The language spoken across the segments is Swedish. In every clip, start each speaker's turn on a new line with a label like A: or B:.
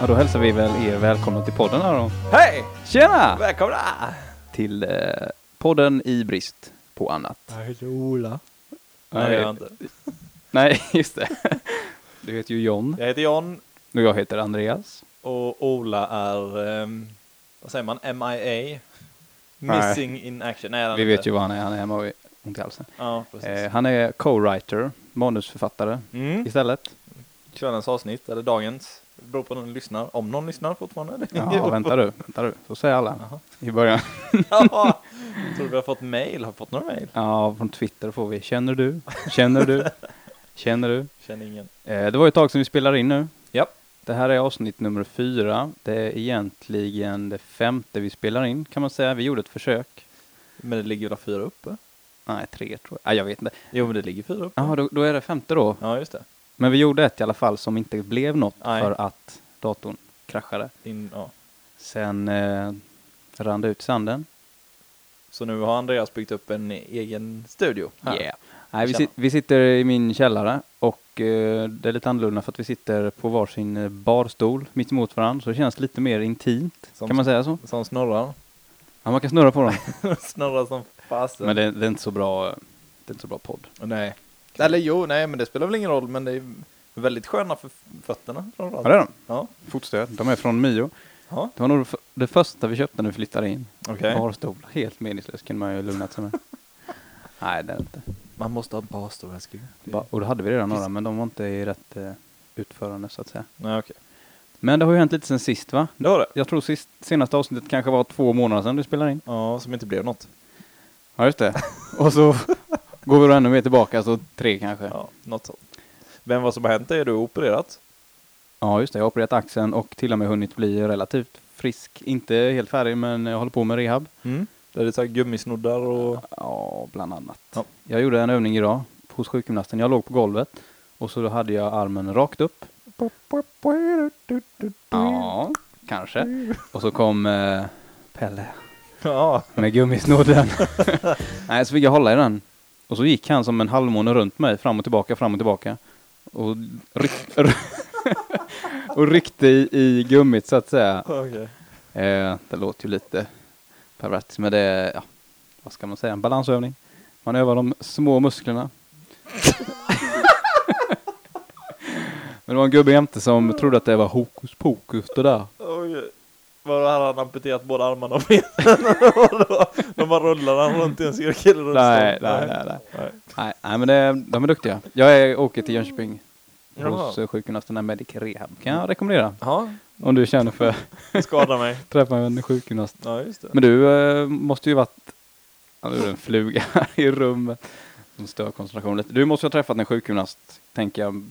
A: Ja, då hälsar vi väl er välkomna till podden här då.
B: Hej!
A: Tjena!
B: Välkomna!
A: Till eh, podden i brist på annat.
B: Jag heter Ola.
A: Nej,
B: Nej, jag, inte.
A: Nej, just det. Du heter ju John
B: jag heter John
A: och jag heter Andreas.
B: och Ola är, ehm, vad säger man, MIA?
A: Nej.
B: Missing in action. Nej, det är
A: Vi
B: inte.
A: vet ju vad han är, han är hemma och ont i halsen.
B: Ja, precis.
A: Eh, han är co-writer, manusförfattare
B: Mm.
A: istället.
B: Kvällens avsnitt, eller dagens. Det beror på om någon lyssnar, om någon lyssnar fortfarande.
A: Ja, vänta du, vänta du. Så säger alla
B: Jaha.
A: i början.
B: Ja. Tror du vi har fått mail? Har vi fått några mail?
A: Ja, från Twitter får vi känner du, känner du, känner du.
B: Känner ingen.
A: Eh, det var ju ett tag sedan vi spelade in nu.
B: Ja.
A: Det här är avsnitt nummer fyra. Det är egentligen det femte vi spelar in kan man säga. Vi gjorde ett försök.
B: Men det ligger väl fyra uppe?
A: Nej, tre tror jag. Nej, jag vet inte.
B: Jo, men det ligger fyra uppe.
A: Ja, då, då är det femte då.
B: Ja, just det.
A: Men vi gjorde ett i alla fall som inte blev något
B: Nej.
A: för att datorn kraschade.
B: In, ja.
A: Sen eh, rann det ut i sanden.
B: Så nu har Andreas byggt upp en egen studio. här.
A: Yeah. Nej, vi,
B: Källaren.
A: sit, vi sitter i min källare och eh, det är lite annorlunda för att vi sitter på varsin eh, barstol mitt emot varandra så det känns lite mer intimt.
B: Som-
A: Kan man säga så?
B: Som snurrar.
A: Ja, man kan snurra på dem.
B: snurrar som fasen.
A: Men det, det är inte så bra, eh, det är inte så bra podd.
B: Nej. Eller jo, nej, men det spelar väl ingen roll, men det är väldigt sköna för fötterna framförallt.
A: Ja, det är de.
B: Ja,
A: Fotstöd. De är från Mio.
B: ja.
A: Det var nog det f- det första vi köpte när vi flyttade in.
B: okej.
A: Barstol. Helt meningslös kunde man ju lugnat sig med. Nej, det är det inte.
B: Man måste ha en barstol, älskling.
A: Ba- och då hade vi redan några, men de var inte i rätt eh, utförande så att säga.
B: Nej, okej.
A: Men det har ju hänt lite sen sist va?
B: Det var det.
A: Jag tror sist, senaste avsnittet kanske var två månader sedan du spelade in.
B: Ja, som inte blev något.
A: Ja, just det. Och så går vi då ännu mer tillbaka, så tre kanske. Ja,
B: Ja, något sånt. Men vad som har hänt är att du har opererat.
A: just det. Jag har opererat axeln och till och med hunnit bli relativt frisk. Inte helt färdig, men jag håller på med rehab.
B: Mm. Det är lite så här gummisnoddar och...
A: Ja, bland annat.
B: Ja.
A: Jag gjorde en övning idag hos sjukgymnasten. Jag låg på golvet och så hade jag armen rakt upp. Ja, kanske. Och så kom eh, Pelle
B: Ja,
A: med gummisnodden. Nej, så fick jag hålla i den. Och så gick han som en halvmåne runt mig, fram och tillbaka, fram och tillbaka. Och, ryck, och ryckte i, i gummit så att säga.
B: okej.
A: Eh, det låter ju lite pervert, men det är, ja, vad ska man säga, en balansövning. Man övar de små musklerna. men det var en gubbe jämte som trodde att det var hokus pokus det där.
B: Oj. Var det här han amputerat båda armarna och benen? Och då- När man rullar han runt i en cirkel runt
A: Nej,
B: stan.
A: nej, nej, nej.
B: nej.
A: Nej, nej men det, de är duktiga. Jag är, åker till Jönköping
B: Jaha.
A: hos eh, sjukgymnasten där Medic Rehab. Kan jag rekommendera.
B: Ja,
A: Om du känner för att
B: skada mig.
A: träffa en sjukgymnast.
B: Ja, just det.
A: Men du eh, måste ju varit, ja, nu är det en fluga här i rummet som stör koncentrationen lite. Du måste ju ha träffat en sjukgymnast, tänker jag.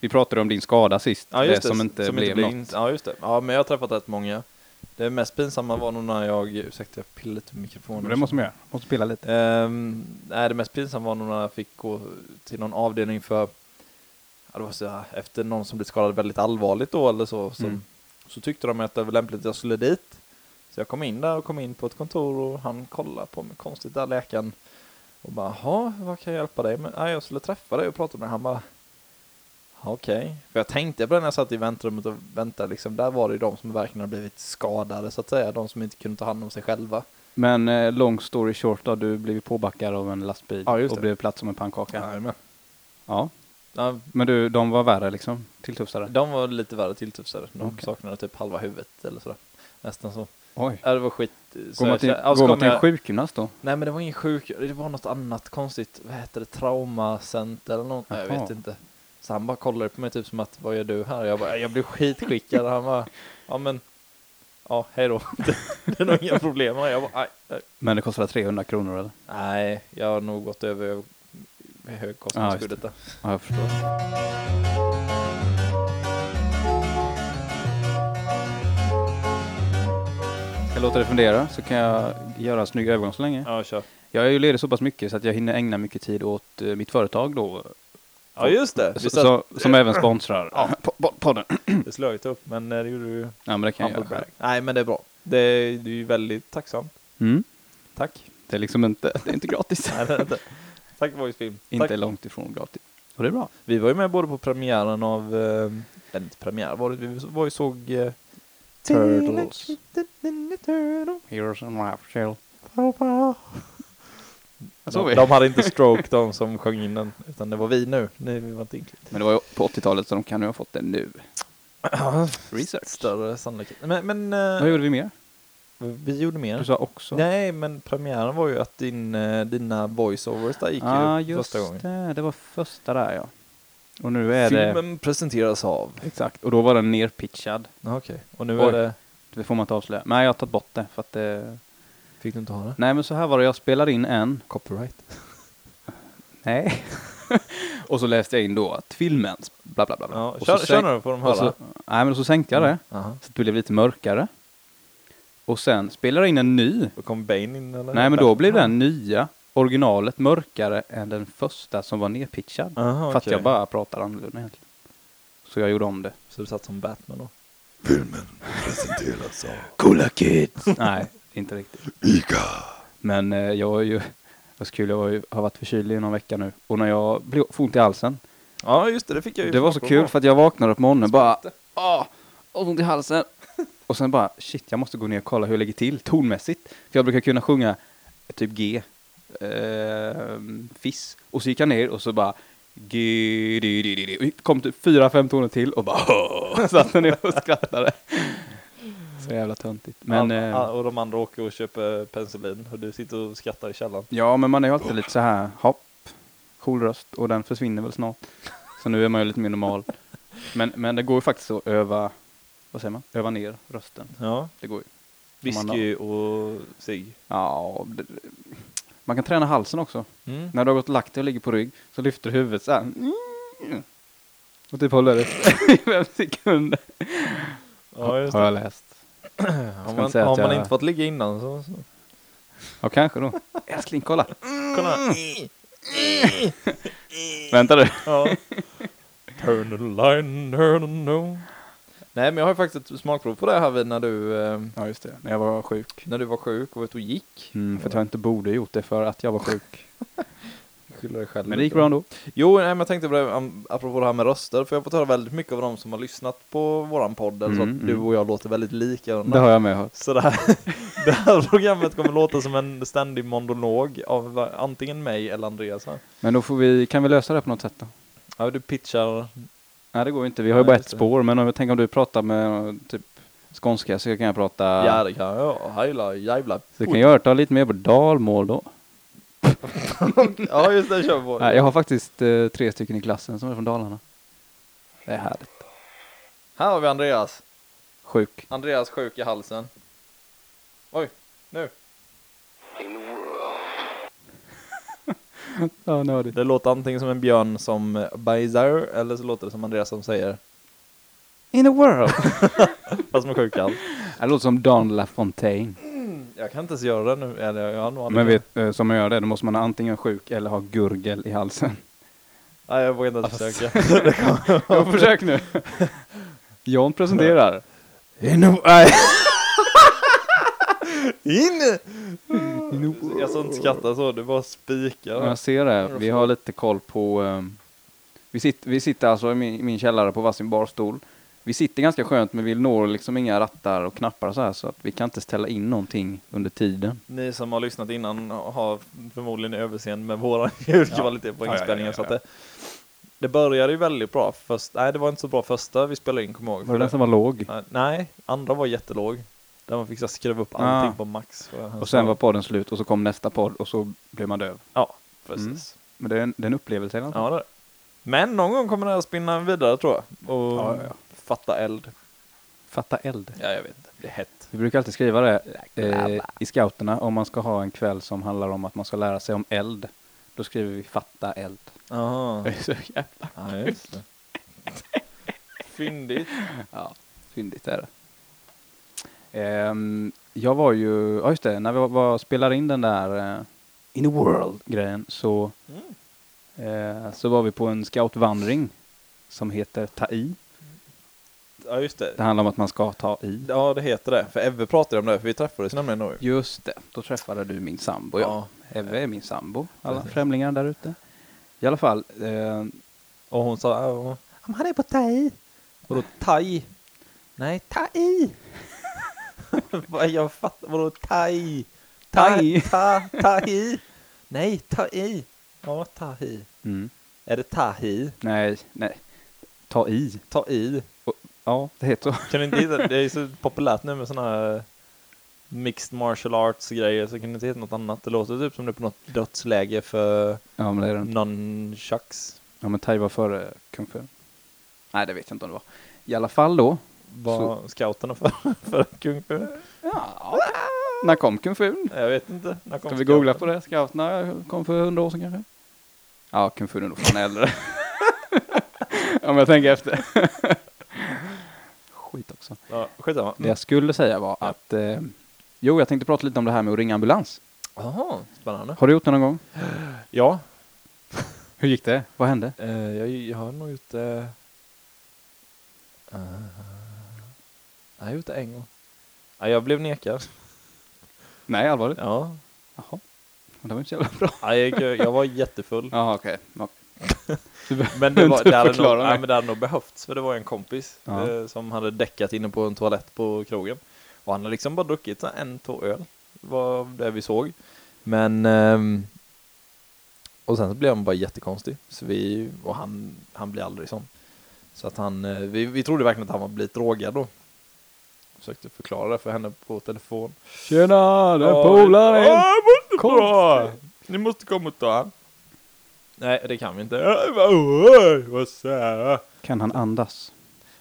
A: Vi pratade om din skada sist,
B: Ja, just det,
A: som inte blev något.
B: in- Ja, just det. Ja, men jag har träffat rätt många. Det mest pinsamma var nog när jag, ursäkta jag pillade lite på mikrofonen.
A: Men det måste man göra, måste spela lite.
B: Ehm, nej, det mest pinsamma var nog när jag fick gå till någon avdelning för, ja, det var så här, efter någon som blivit skadad väldigt allvarligt då eller så, så,
A: Mm.
B: så tyckte de att det var lämpligt att jag skulle dit. Så jag kom in där och kom in på ett kontor och han kollade på mig konstigt där, läkaren. Och bara, jaha, vad kan jag hjälpa dig med? Nej, jag skulle träffa dig och prata med dig. Han bara, "Ja, okej. För jag tänkte på det när jag satt i väntrummet och väntade, liksom, där var det ju de som verkligen har blivit skadade så att säga, de som inte kunde ta hand om sig själva.
A: Men eh, long story short då, du blev påbackad av en lastbil
B: Ja, just
A: och
B: det.
A: blev platt som en pannkaka.
B: Jajamän.
A: Ja.
B: Ja,
A: Men du, de var värre liksom, tilltufsare.
B: De var lite värre tilltufsade. De
A: Okej.
B: saknade typ halva huvudet eller sådär. Nästan så.
A: Oj.
B: Ja, det var skit. Så
A: Går man
B: jag-
A: till,
B: så- ja, så
A: går man
B: kom
A: till en
B: jag-
A: sjukgymnast då?
B: Nej men det var ingen sjuk, det var något annat konstigt. Vad heter det? Traumacenter eller något? Nej, Jag
A: Jaha.
B: vet inte. Så han bara kollade på mig typ som att vad gör du här? Jag bara, jag blev skitskickad. Han bara, ja men, ja hej då. Det, det är nog inga problem. Jag bara, "Aj, aj."
A: Men det kostade 300 kronor eller?
B: nej, jag har nog gått över högkostnadsskyddet där.
A: Ja, jag förstår. Jag låter dig fundera så kan jag göra en snygg övergång så länge.
B: Ja, kör.
A: Jag är ju ledig så pass mycket så att jag hinner ägna mycket tid åt eh, mitt företag då.
B: Ja just det. Vi
A: Så,
B: satt-
A: så, som även sponsrar
B: Ja.
A: po- po- podden.
B: Det slog jag inte upp men eh, det gjorde du
A: Ja men det kan jag göra.
B: Humble brag. Nej, men det är bra. Det är, du är ju väldigt tacksam.
A: Mm.
B: Tack.
A: Det är liksom inte, det är inte gratis.
B: Nej, det är inte. Tack Voice Film.
A: inte
B: Tack.
A: långt ifrån gratis. Och det är bra.
B: Vi var ju med både på premiären av eh, eller inte premiär var det, vi var ju såg eh,
A: Turtles. Heroes and Life Shell. Så
B: De,
A: vi.
B: de hade inte stroke de som sjöng in den, utan det var vi nu. Nej, vi var inte inkluderade.
A: Men det var ju på 80-talet så de kan ju ha fått den nu. Research.
B: Större sannolikhet. Men, men eh,
A: Vad gjorde vi mer?
B: vi gjorde mer.
A: Du sa också.
B: Nej, men premiären var ju att din, eh, dina voiceovers där gick
A: ah,
B: ju
A: just
B: första gången.
A: det. Det var första där ja. Och nu är det...
B: Filmen presenteras av.
A: Exakt. Och då var den nerpitchad.
B: Ja, Okej, och nu
A: Oj.
B: är det...
A: Det får man inte avslöja. Nej, jag har tagit bort det för att det...
B: Fick du inte ha det?
A: Nej, men så här var det. Jag spelade in en.
B: Copyright.
A: Nej. och så läste jag in då att filmens bla bla bla. bla.
B: Ja,
A: och
B: kör,
A: så
B: kör
A: sänk-
B: nu då, får de Mm. höra.
A: och så, Nej, men så sänkte jag det.
B: Aha.
A: Så att det blev lite mörkare. Och sen spelade jag in en ny.
B: Då kom Bane in eller?
A: Nej, men då blev den nya, originalet, mörkare än den första som var nerpitchad.
B: Aha,
A: För att
B: okej.
A: jag bara pratar annorlunda egentligen. Så jag gjorde om det.
B: Så du satt som Batman då?
A: Coola kids! Nej, inte riktigt. Men eh, jag är ju... Vad så kul, jag var ju, har varit förkyld i någon vecka nu. Och när jag blev får ont i halsen.
B: Ja, just det, det fick jag ju.
A: Det var så
B: fråga
A: kul
B: om.
A: för att jag vaknade upp morgonen bara... Åh! Ont i halsen! Och sen bara, shit, jag måste gå ner och kolla hur jag lägger till tonmässigt. För jag brukar kunna sjunga typ G. Eh, fiss. Och så gick jag ner och så bara... G, di, di, di, di. Och kom typ fyra, fem toner till och bara... "Åh!" Satt jag ner och skrattade. Så jävla töntigt. Men...
B: Ja,
A: eh,
B: ja, och de andra åker och köper penicillin och du sitter och skrattar i källaren.
A: Ja, men man är ju alltid lite så här, hopp, cool röst och den försvinner väl snart. Så nu är man ju lite mer normal. Men, men det går ju faktiskt att öva, vad säger man, öva ner rösten.
B: Ja,
A: Det går ju. man har-
B: whisky och cigg.
A: Ja, det, man kan träna halsen också.
B: Mm.
A: När du har gått och lagt dig och ligger på rygg så lyfter du huvudet så här. Mm. Och typ håller det i fem sekunder.
B: Ja, just
A: har
B: det.
A: jag läst.
B: Har
A: inte
B: man,
A: säga att
B: har man
A: jag-
B: inte fått ligga innan så... så.
A: Ja, kanske då. Älskling, kolla.
B: Kolla!
A: Vänta du.
B: Ja. Turn the line, turn the no. Nej, men jag har ju faktiskt ett smakprov på det här vid när du, eh,
A: Ja, just det. När jag var sjuk.
B: när du var sjuk och var ute och gick.
A: Mm, för att jag inte borde gjort det för att jag var sjuk.
B: Skyller dig själv.
A: Men det gick
B: lite.
A: bra ändå.
B: Jo, nej, men jag tänkte på det, am- apropå det här med röster, för jag har fått höra väldigt mycket av de som har lyssnat på våran podd, eller så
A: Mm,
B: att du
A: mm.
B: och jag låter väldigt lika.
A: Det har jag med hört.
B: Så det här, det här programmet kommer låta som en ständig monolog av va- antingen mig eller Andreas. här.
A: Men då får vi, kan vi lösa det på något sätt då?
B: Ja, du pitchar.
A: Nej det går ju inte, vi har ju
B: Nej,
A: bara ett
B: just det.
A: spår men om jag tänker om du pratar med eh, typ skånska så kan jag prata...
B: Ja, det kan jag. Hejla, jävla.
A: så kan jag ta lite mer på dalmål då.
B: Ja, just det, kör vi på.
A: Nej, jag har faktiskt eh, tre stycken i klassen som är från Dalarna. Det är härligt.
B: Här har vi Andreas.
A: Sjuk.
B: Andreas sjuk i halsen. Oj, nu.
A: Ja, nördigt.
B: Det låter antingen som en björn som eh, bajsar eller så låter det som Andreas som säger
A: In the world!
B: fast med sjuk i hals.
A: det låter som Don LaFontaine.
B: Jag kan inte ens göra det nu. Eller jag har nog aldrig-
A: Men vet, eh, som man gör det, då måste man antingen vara sjuk eller ha gurgel i halsen.
B: Nej, jag vågar inte ens
A: Alltså.
B: försöka.
A: Jag försök nu. John presenterar.
B: Inne! Nej! Inne!
A: In the
B: Jag ska inte skratta så, det bara
A: Ja,
B: spikar.
A: jag ser det. Vi har lite koll på... ehm, vi, sitter, vi sitter alltså i min, min källare på varsin barstol. Vi sitter ganska skönt men vi når liksom inga rattar och knappar så här så att vi kan inte ställa in någonting under tiden.
B: Ni som har lyssnat innan har förmodligen överseende med våran ljudkvalitet på
A: Ja, ja, ja,
B: inspelningen. Så att
A: ja, ja.
B: det, det började ju väldigt bra. Först, nej, det var inte så bra första vi spelade in, kommer jag ihåg.
A: Var det den
B: För
A: som var låg?
B: det- Nej, andra var jättelåg. Där man fick så här skruva upp
A: Ah.
B: allting på max. för att han
A: Och sen
B: sa-
A: var podden slut och så kom nästa podd och så blev man döv.
B: Ja, precis.
A: Men det är en, det är en upplevelse eller något.
B: Ja, det är det. Men någon gång kommer det här spinna vidare tror jag. Och
A: Ja, ja, ja.
B: fatta eld.
A: Fatta eld.
B: Ja, jag vet inte. Det är hett.
A: Vi brukar alltid skriva det eh, i scouterna om man ska ha en kväll som handlar om att man ska lära sig om eld. Då skriver vi fatta eld.
B: Aha.
A: Det är så jävla
B: Ja, just det. Fyndigt.
A: Ja, fyndigt är det. Ehm, jag var ju, ja just det, när vi var, var, spelade in den där eh, In the World-grejen så,
B: Mm.
A: eh, så var vi på en scoutvandring som heter Ta i.
B: Ja, just det.
A: Det handlar om att man ska ta i.
B: Ja, det heter det. För Ebbe pratade om det, för vi träffades nämligen då. ju.
A: Just det, då träffade du min sambo. Ja. Eve är min sambo, alla
B: Precis.
A: främlingar där ute. I alla fall, eh,
B: Och hon sa... "Ja, ja."
C: Om han är på Tai.
B: Vadå thai? Nej, thai! Vad jag fattar, vadå thai?
A: Thai.
B: Ta, ta, thai! Nej, thai! Ja, thai.
A: Mm.
B: Är det thai?
A: Nej, nej. Ta i.
B: Ta i.
A: Ja, det heter så.
B: Kan du inte hitta, det är ju så populärt nu med sådana här eh, mixed martial arts grejer så kan du inte hitta något annat. Det låter typ som det är på något dödsläge för
A: Ja, men det är den.
B: nunchucks.
A: Ja, men thai var före kung fu. Nej, det vet jag inte om det var. I alla fall då.
B: Vad scouterna för, för kung fu?
A: Ja. När kom kung fu?
B: Jag vet inte. När kom
A: Ska vi googla
B: scouterna?
A: på det? Scouterna kom för hundra år sedan kanske? Ja, kung fu är nog fan äldre. Om jag tänker efter. Skit också.
B: Ja, skitsamma. Mm.
A: Det jag skulle säga var att... Eh, jo, jag tänkte prata lite om det här med att ringa ambulans.
B: Jaha, spännande.
A: Har du gjort det någon gång?
B: Ja,
A: Hur gick det? Vad hände?
B: eh, jag, jag har nog gjort det... Eh, jag har gjort det en gång. Ja, jag blev nekad.
A: Nej, allvarligt?
B: Ja.
A: Jaha. Det var inte så jävla bra.
B: Ja, jag, gick- jag var jättefull.
A: Ja, okej. Ja.
B: Men det, var,
A: Inte
B: det, hade nog,
A: förklara mig.
B: nej, men det hade nog behövts, för det var ju en kompis
A: Ja.
B: eh, som hade däckat inne på en toalett på krogen. Och han hade liksom bara druckit så här en, två öl, var det vi såg. Men... ehm, och sen så blev han bara jättekonstig. Så vi, och han, han blir aldrig sån. Så att han, eh, vi, vi trodde verkligen att han var blivit drogad då. Försökte förklara det för henne på telefon.
A: Tjena, det är
B: Ja,
A: polaren!
B: Ja, jag mår inte
A: Kom.
B: bra! Ni måste komma och ta han. Nej, det kan vi inte. Äh, vad- oj, Vad säger
A: Kan han andas?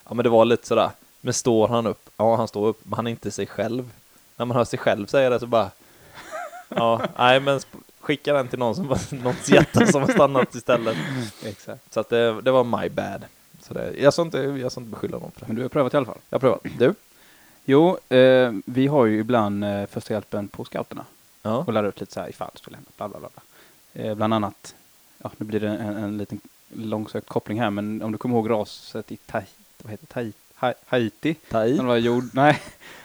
B: Ja, men det var lite sådär. Men står han upp? Ja, han står upp, men han är inte sig själv. När man hör sig själv säga det så bara... Ja, nej, men sp- skicka den till någon som någons hjärta som har stannat istället.
A: Exakt.
B: Så att det, det var my bad. Så det, jag ska inte, jag ska inte beskylla någon för det.
A: Men du har prövat i alla fall?
B: Jag prövar. Du?
A: Jo, eh, vi har ju ibland eh, första hjälpen på scouterna
B: Ja.
A: och lär ut lite så här ifall det skulle hända, bla bla bla. bla. Eh, bland annat, ja nu blir det en, en liten långsökt koppling här, men om du kommer ihåg raset i tai, vad heter det? tai, ha, Haiti?
B: Ta
A: När det
B: i?
A: var jord, nej,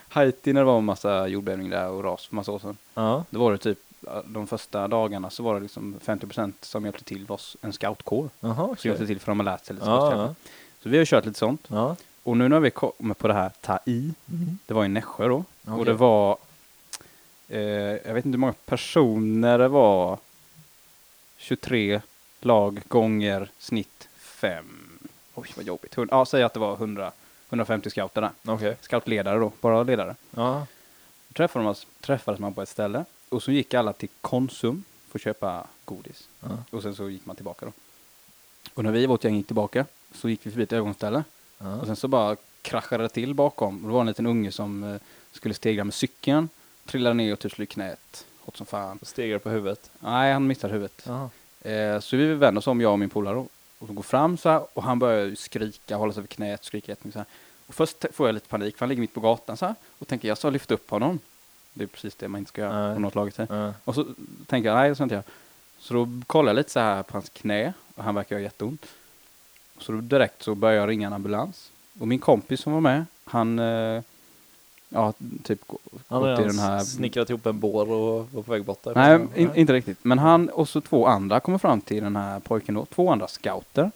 A: Haiti när det var en massa jordbävning där och ras för massa år sedan.
B: Ja.
A: Då var det typ, eh, de första dagarna så var det liksom 50% som hjälpte till var s- en scoutkår.
B: Jaha,
A: Som
B: okej.
A: hjälpte till för de har lärt sig lite
B: Ja,
A: scouthjälp.
B: ja.
A: Så vi har kört lite sånt.
B: ja.
A: Och nu när vi kommer på det här tai,
B: Mm.
A: det var i Nässjö då.
B: Okej.
A: Och det var, eh, jag vet inte hur många personer det var, 23 lag gånger snitt 5. Oj vad jobbigt. Hund, ja, säg att det var 100, 150 scouter där.
B: Okej.
A: Scoutledare då, bara ledare.
B: Ja.
A: Då träffade man, träffades man på ett ställe och så gick alla till Konsum för att köpa godis.
B: Ja.
A: Och sen så gick man tillbaka då. Och när vi i vårt gäng gick tillbaka så gick vi förbi ett övergångsställe. Och
B: Ja.
A: sen så bara kraschade det till bakom. Och det var en liten unge som eh, skulle stegra med cykeln, trillade ner och typ slog knät. Hårt som fan.
B: Och Stegar på huvudet.
A: Nej, han missade huvudet.
B: Ja.
A: Eh, så vi vände oss om, jag och min polare. då. Och så går fram så här, och han börjar ju skrika, hålla sig vid knät, skrika jättemycket så här. Och först t- får jag lite panik, för han ligger mitt på gatan så här. Och tänker, jag ska lyfta upp honom. Det är precis det man inte ska göra
B: Nej.
A: om något laget säger.
B: Ja.
A: Och så tänker jag, nej det ska jag inte göra. Så då kollar jag lite så här på hans knä och han verkar ha jätteont. Så då direkt så börjar jag ringa en ambulans. Och min kompis som var med, han, eh, ja typ gå-
B: Han
A: gått i den
B: har
A: här...
B: snickrat ihop en bår och var på väg bort där.
A: Nej, in, inte riktigt. Men han och så två andra kommer fram till den här pojken då. Två andra scouter.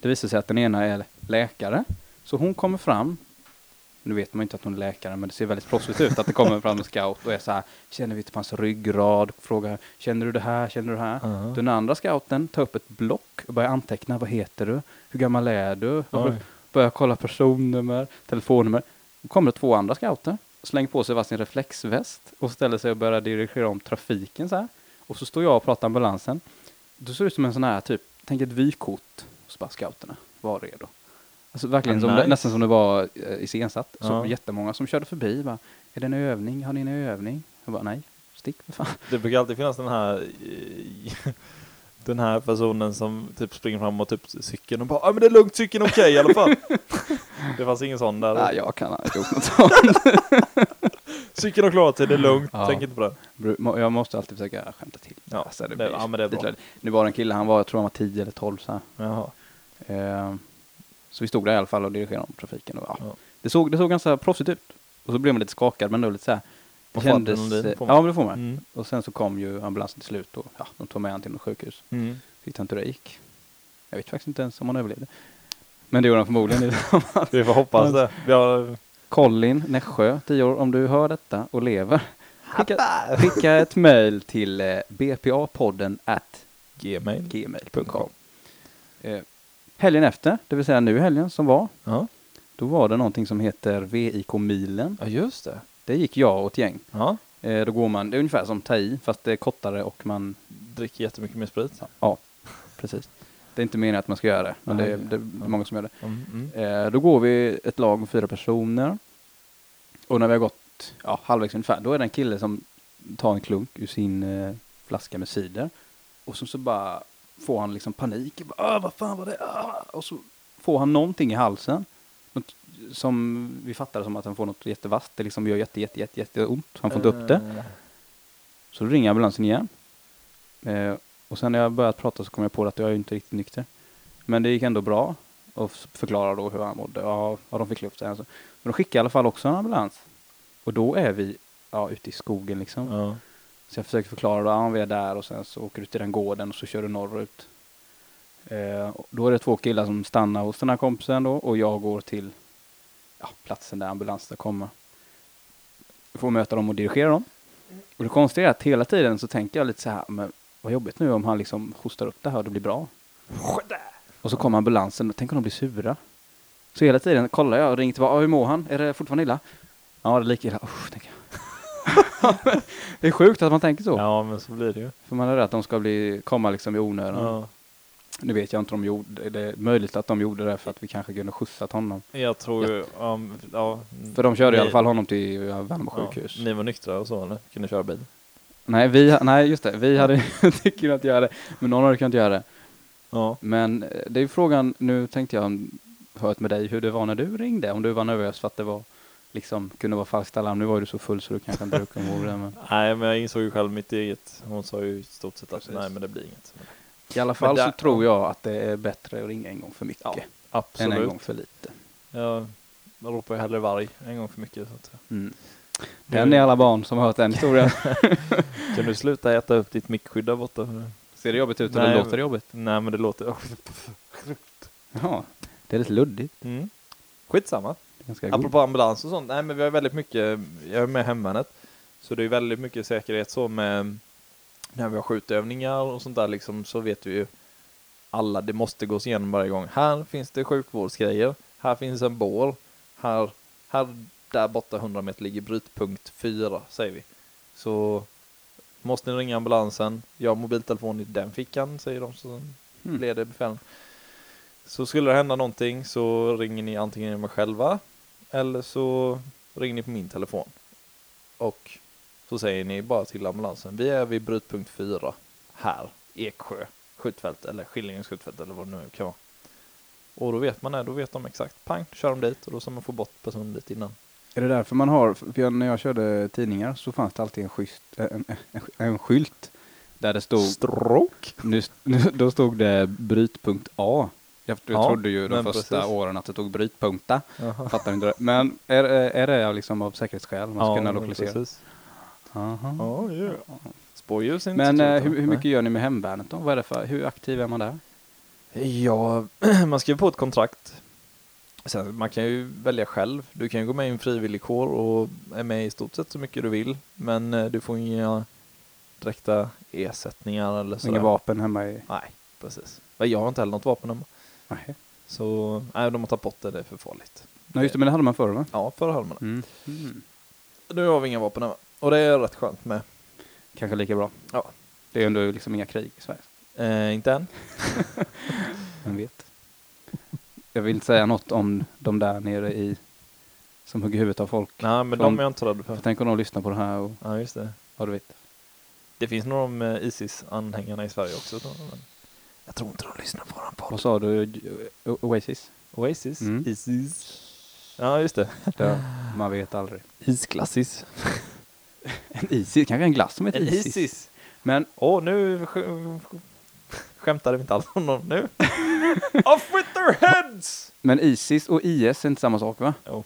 A: Det visar sig att den ena är läkare. Så hon kommer fram. Nu vet man inte att hon är läkare, men det ser väldigt proffsigt ut att det kommer fram en scout och är så här. Känner vi till på hans ryggrad? Frågar, känner du det här? Känner du det här?
B: Ja.
A: Den andra scouten tar upp ett block och börjar anteckna. Vad heter du? Hur gammal är du?
B: Oj.
A: Börjar kolla personnummer, telefonnummer. Då kommer det två andra scouter, slänger på sig varsin reflexväst och ställer sig och börjar dirigera om trafiken så här. Och så står jag och pratar ambulansen. Då ser det ut som en sån här typ, tänk ett vykort. Och så bara scouterna, var redo. Alltså verkligen,
B: Ah,
A: som
B: nice.
A: det, nästan som det var eh, iscensatt. Så
B: Ja.
A: jättemånga som körde förbi bara, är det en övning? Har ni en övning? Jag bara, nej, stick för fan.
B: Det brukar alltid finnas den här eh, den här personen som typ springer fram och typ cykeln och bara ah, men det är lugnt, cykeln är okej i alla fall. det fanns ingen sån där.
A: Nej, jag kan inte gjort något sånt.
B: Cykeln har klarat sig, det är lugnt,
A: Ja.
B: tänk inte på det.
A: Bru- må- Jag måste alltid försöka skämta till.
B: Ja,
A: Alltså,
B: det-
A: blir
B: ja, men det är
A: lite
B: bra.
A: löjligt. Nu var det en kille, han var, jag tror han var 10 eller 12 så här.
B: Jaha.
A: Eh, Så vi stod där i alla fall och dirigerade om trafiken. Och, ja.
B: Ja.
A: Det, såg, det såg ganska proffsigt ut. Och så blev man lite skakad, men det var lite så här. Det
B: Man får adrenalin,
A: eh,
B: får man.
A: ja, men det får man.
B: Mm.
A: Och sen så kom ju ambulansen till slut och ja, de tog med honom till något sjukhus.
B: Mm.
A: Vet inte hur det gick. Jag vet faktiskt inte ens om han överlevde. Men det gjorde han förmodligen inte.
B: Vi får hoppas det. Vi har...
A: Colin Nässjö, 10 år, om du hör detta och lever. Skicka, skicka ett mejl till eh, bpa-podden at
B: Gmail.
A: gmail.com. Eh, helgen efter, det vill säga nu i helgen som var,
B: Ja.
A: då var det någonting som heter VIK-milen.
B: ja, just det.
A: Det gick jag och ett gäng.
B: Ja.
A: Eh, då går man, det är ungefär som tai, fast det är kortare och man,
B: Dricker jättemycket mer sprit.
A: ja, precis. Det är inte meningen att man ska göra det, men det,
B: Nej.
A: är- det, det är många som gör det.
B: Mm, mm.
A: Eh, då går vi ett lag med fyra personer. Och när vi har gått ja, halvvägs ungefär, då är det en kille som tar en klunk ur sin eh, flaska med cider. Och så, så bara får han liksom panik. Bara, "Åh, vad fan var det? Ah!" Och så får han någonting i halsen. Något som vi fattar som att han får något jättevasst. Det liksom gör jätte, jätte, jätte, jätteont. Han får inte upp det.
B: Eh,
A: Så då ringer ambulansen igen. Eh, och sen när jag börjat prata så kom jag på att jag är ju inte riktigt nykter. Men det gick ändå bra. Och f- förklara då hur han mådde. Ja, vad de fick luft. så här, Alltså. Men de skickade i alla fall också en ambulans. Och då är vi ja, ute i skogen liksom.
B: Ja.
A: Så jag försöker förklara, då, ja vi är där och sen så åker du till den gården och så kör du norrut. Eh, och då är det två killar som stannar hos den här kompisen då och jag går till ja, platsen där ambulansen ska komma. Jag får möta dem och dirigera dem. Och det konstiga är att hela tiden så tänker jag lite så här, men vad jobbigt nu om han liksom hostar upp det här och det blir bra. Och så kommer ambulansen och tänk om de blir sura. Så hela tiden kollar jag och ringer tillbaka, "Ah, hur mår han? Är det fortfarande illa? Ja, det är lika illa. Usch, tänker jag. det är sjukt att man tänker så.
B: ja, men så blir det ju.
A: För man är rädd att de ska bli, komma liksom i onödan.
B: Ja.
A: Nu vet jag inte om de gjorde det. är möjligt att de gjorde det för att vi kanske kunde skjutsat honom.
B: Jag tror ju... Um, ja.
A: För de körde i
B: Ni-
A: alla fall honom till ja, Värnamo sjukhus.
B: Ja, ni var nyktra och så eller? Kunde köra bil?
A: Nej, vi, nej, just det. Vi hade inte kunnat göra det. Men någon hade kunnat göra det.
B: Ja.
A: Men eh, det är ju frågan, nu tänkte jag om- hört med dig hur det var när du ringde. Om du var nervös för att det var liksom kunde vara falskt alarm. Nu var ju du så full så du kanske inte kom ihåg det. Men
B: Nej, men jag insåg ju själv mitt eget. Hon sa ju i stort sett att
A: Precis.
B: nej, men det blir inget.
A: i alla fall
B: där-
A: så tror jag att det är bättre att ringa en gång för mycket
B: Ja,
A: än
B: absolut.
A: en gång för lite.
B: Jag ropar ju hellre varg en gång för mycket. Så att säga.
A: Mm. Den är alla barn som har hört den historien.
B: Kan du sluta äta upp ditt mickskydd där borta?
A: Ser det jobbigt ut
B: eller
A: eller låter
B: låter
A: det jobbigt?
B: Nej, men det låter...
A: Ja, det är lite luddigt.
B: Mm. Skitsamma.
A: Det är Ganska god.
B: Apropå ambulans och sånt. Nej, men vi har väldigt mycket. Jag är med i hemvärnet. Så det är väldigt mycket säkerhet så med när vi har skjutövningar och sånt där liksom så vet vi ju alla, det måste gås igenom varje gång. Här finns det sjukvårdsgrejer. Här finns en bår. Här, här där borta 100 meter ligger brytpunkt 4 säger vi. Så måste ni ringa ambulansen. Jag har mobiltelefon i den fickan säger de som
A: Mm.
B: leder befälen. Så skulle det hända någonting så ringer ni antingen mig själva eller så ringer ni på min telefon. Och så säger ni bara till ambulansen. Vi är vid brytpunkt 4 här, Eksjö skjutfält eller Skillingens skjutfält eller vad det nu kan vara. Och då vet man det, då vet de exakt. Pang, kör de dit och då ska man få bort personen dit innan.
A: Är det därför man har, för jag, när jag körde tidningar så fanns det alltid en, schysst, en, en, en skylt där det stod,
B: Stråk!
A: nu, st- nu, då stod det brytpunkt A. Jag, jag
B: Ja,
A: trodde ju de
B: men
A: första
B: precis.
A: åren att det tog brytpunkta.
B: Jaha.
A: Fattar inte det. Men är, är det liksom av säkerhetsskäl man ska kunna lokalisera?
B: precis.
A: Aha.
B: Ja, ja. Spårljus är inte
A: Men
B: så
A: eh,
B: kul,
A: hur, hur
B: nej.
A: mycket gör ni med hemvärnet då? Vad är det för, hur aktiv är man där?
B: Ja, man skriver på ett kontrakt. Sen, man kan ju välja själv. Du kan ju gå med i en frivillig kår och är med i stort sett så mycket du vill. Men eh, du får inga direkta ersättningar eller sådär.
A: Inga vapen hemma i?
B: Nej, precis. Men Jag har inte heller något vapen hemma.
A: Nej.
B: Så nej, de har tagit bort det, det är för farligt.
A: Nej, just det, men det hade man förr va?
B: Ja, förr hade man det.
A: Mm. Mm.
B: Nu har vi inga vapen hemma. Och det är rätt skönt med.
A: Kanske lika bra.
B: Ja,
A: Det är ändå liksom inga krig i Sverige.
B: eh, inte än.
A: Vem vet? Jag vill inte säga något om de där nere i som hugger huvudet av folk.
B: Nej, men
A: Från-
B: de är jag inte rädd för.
A: För tänk om de lyssnar på det här och
B: Ja, just det.
A: ja, du vet.
B: Det finns några om eh, Isis-anhängarna i Sverige också. tror jag, Men jag tror inte de lyssnar på våran podd.
A: Vad sa du? O- Oasis?
B: Oasis?
A: Mm.
B: Isis? Ja, just det.
A: Ja, man vet aldrig.
B: Isglassis.
A: En Isis? Kanske en glass som heter
B: En
A: Isis?
B: Isis.
A: Men
B: Åh, nu sk- skämtade vi inte alls om dem nu. Off with their heads!
A: Men Isis och IS är inte samma sak va?
B: Jo,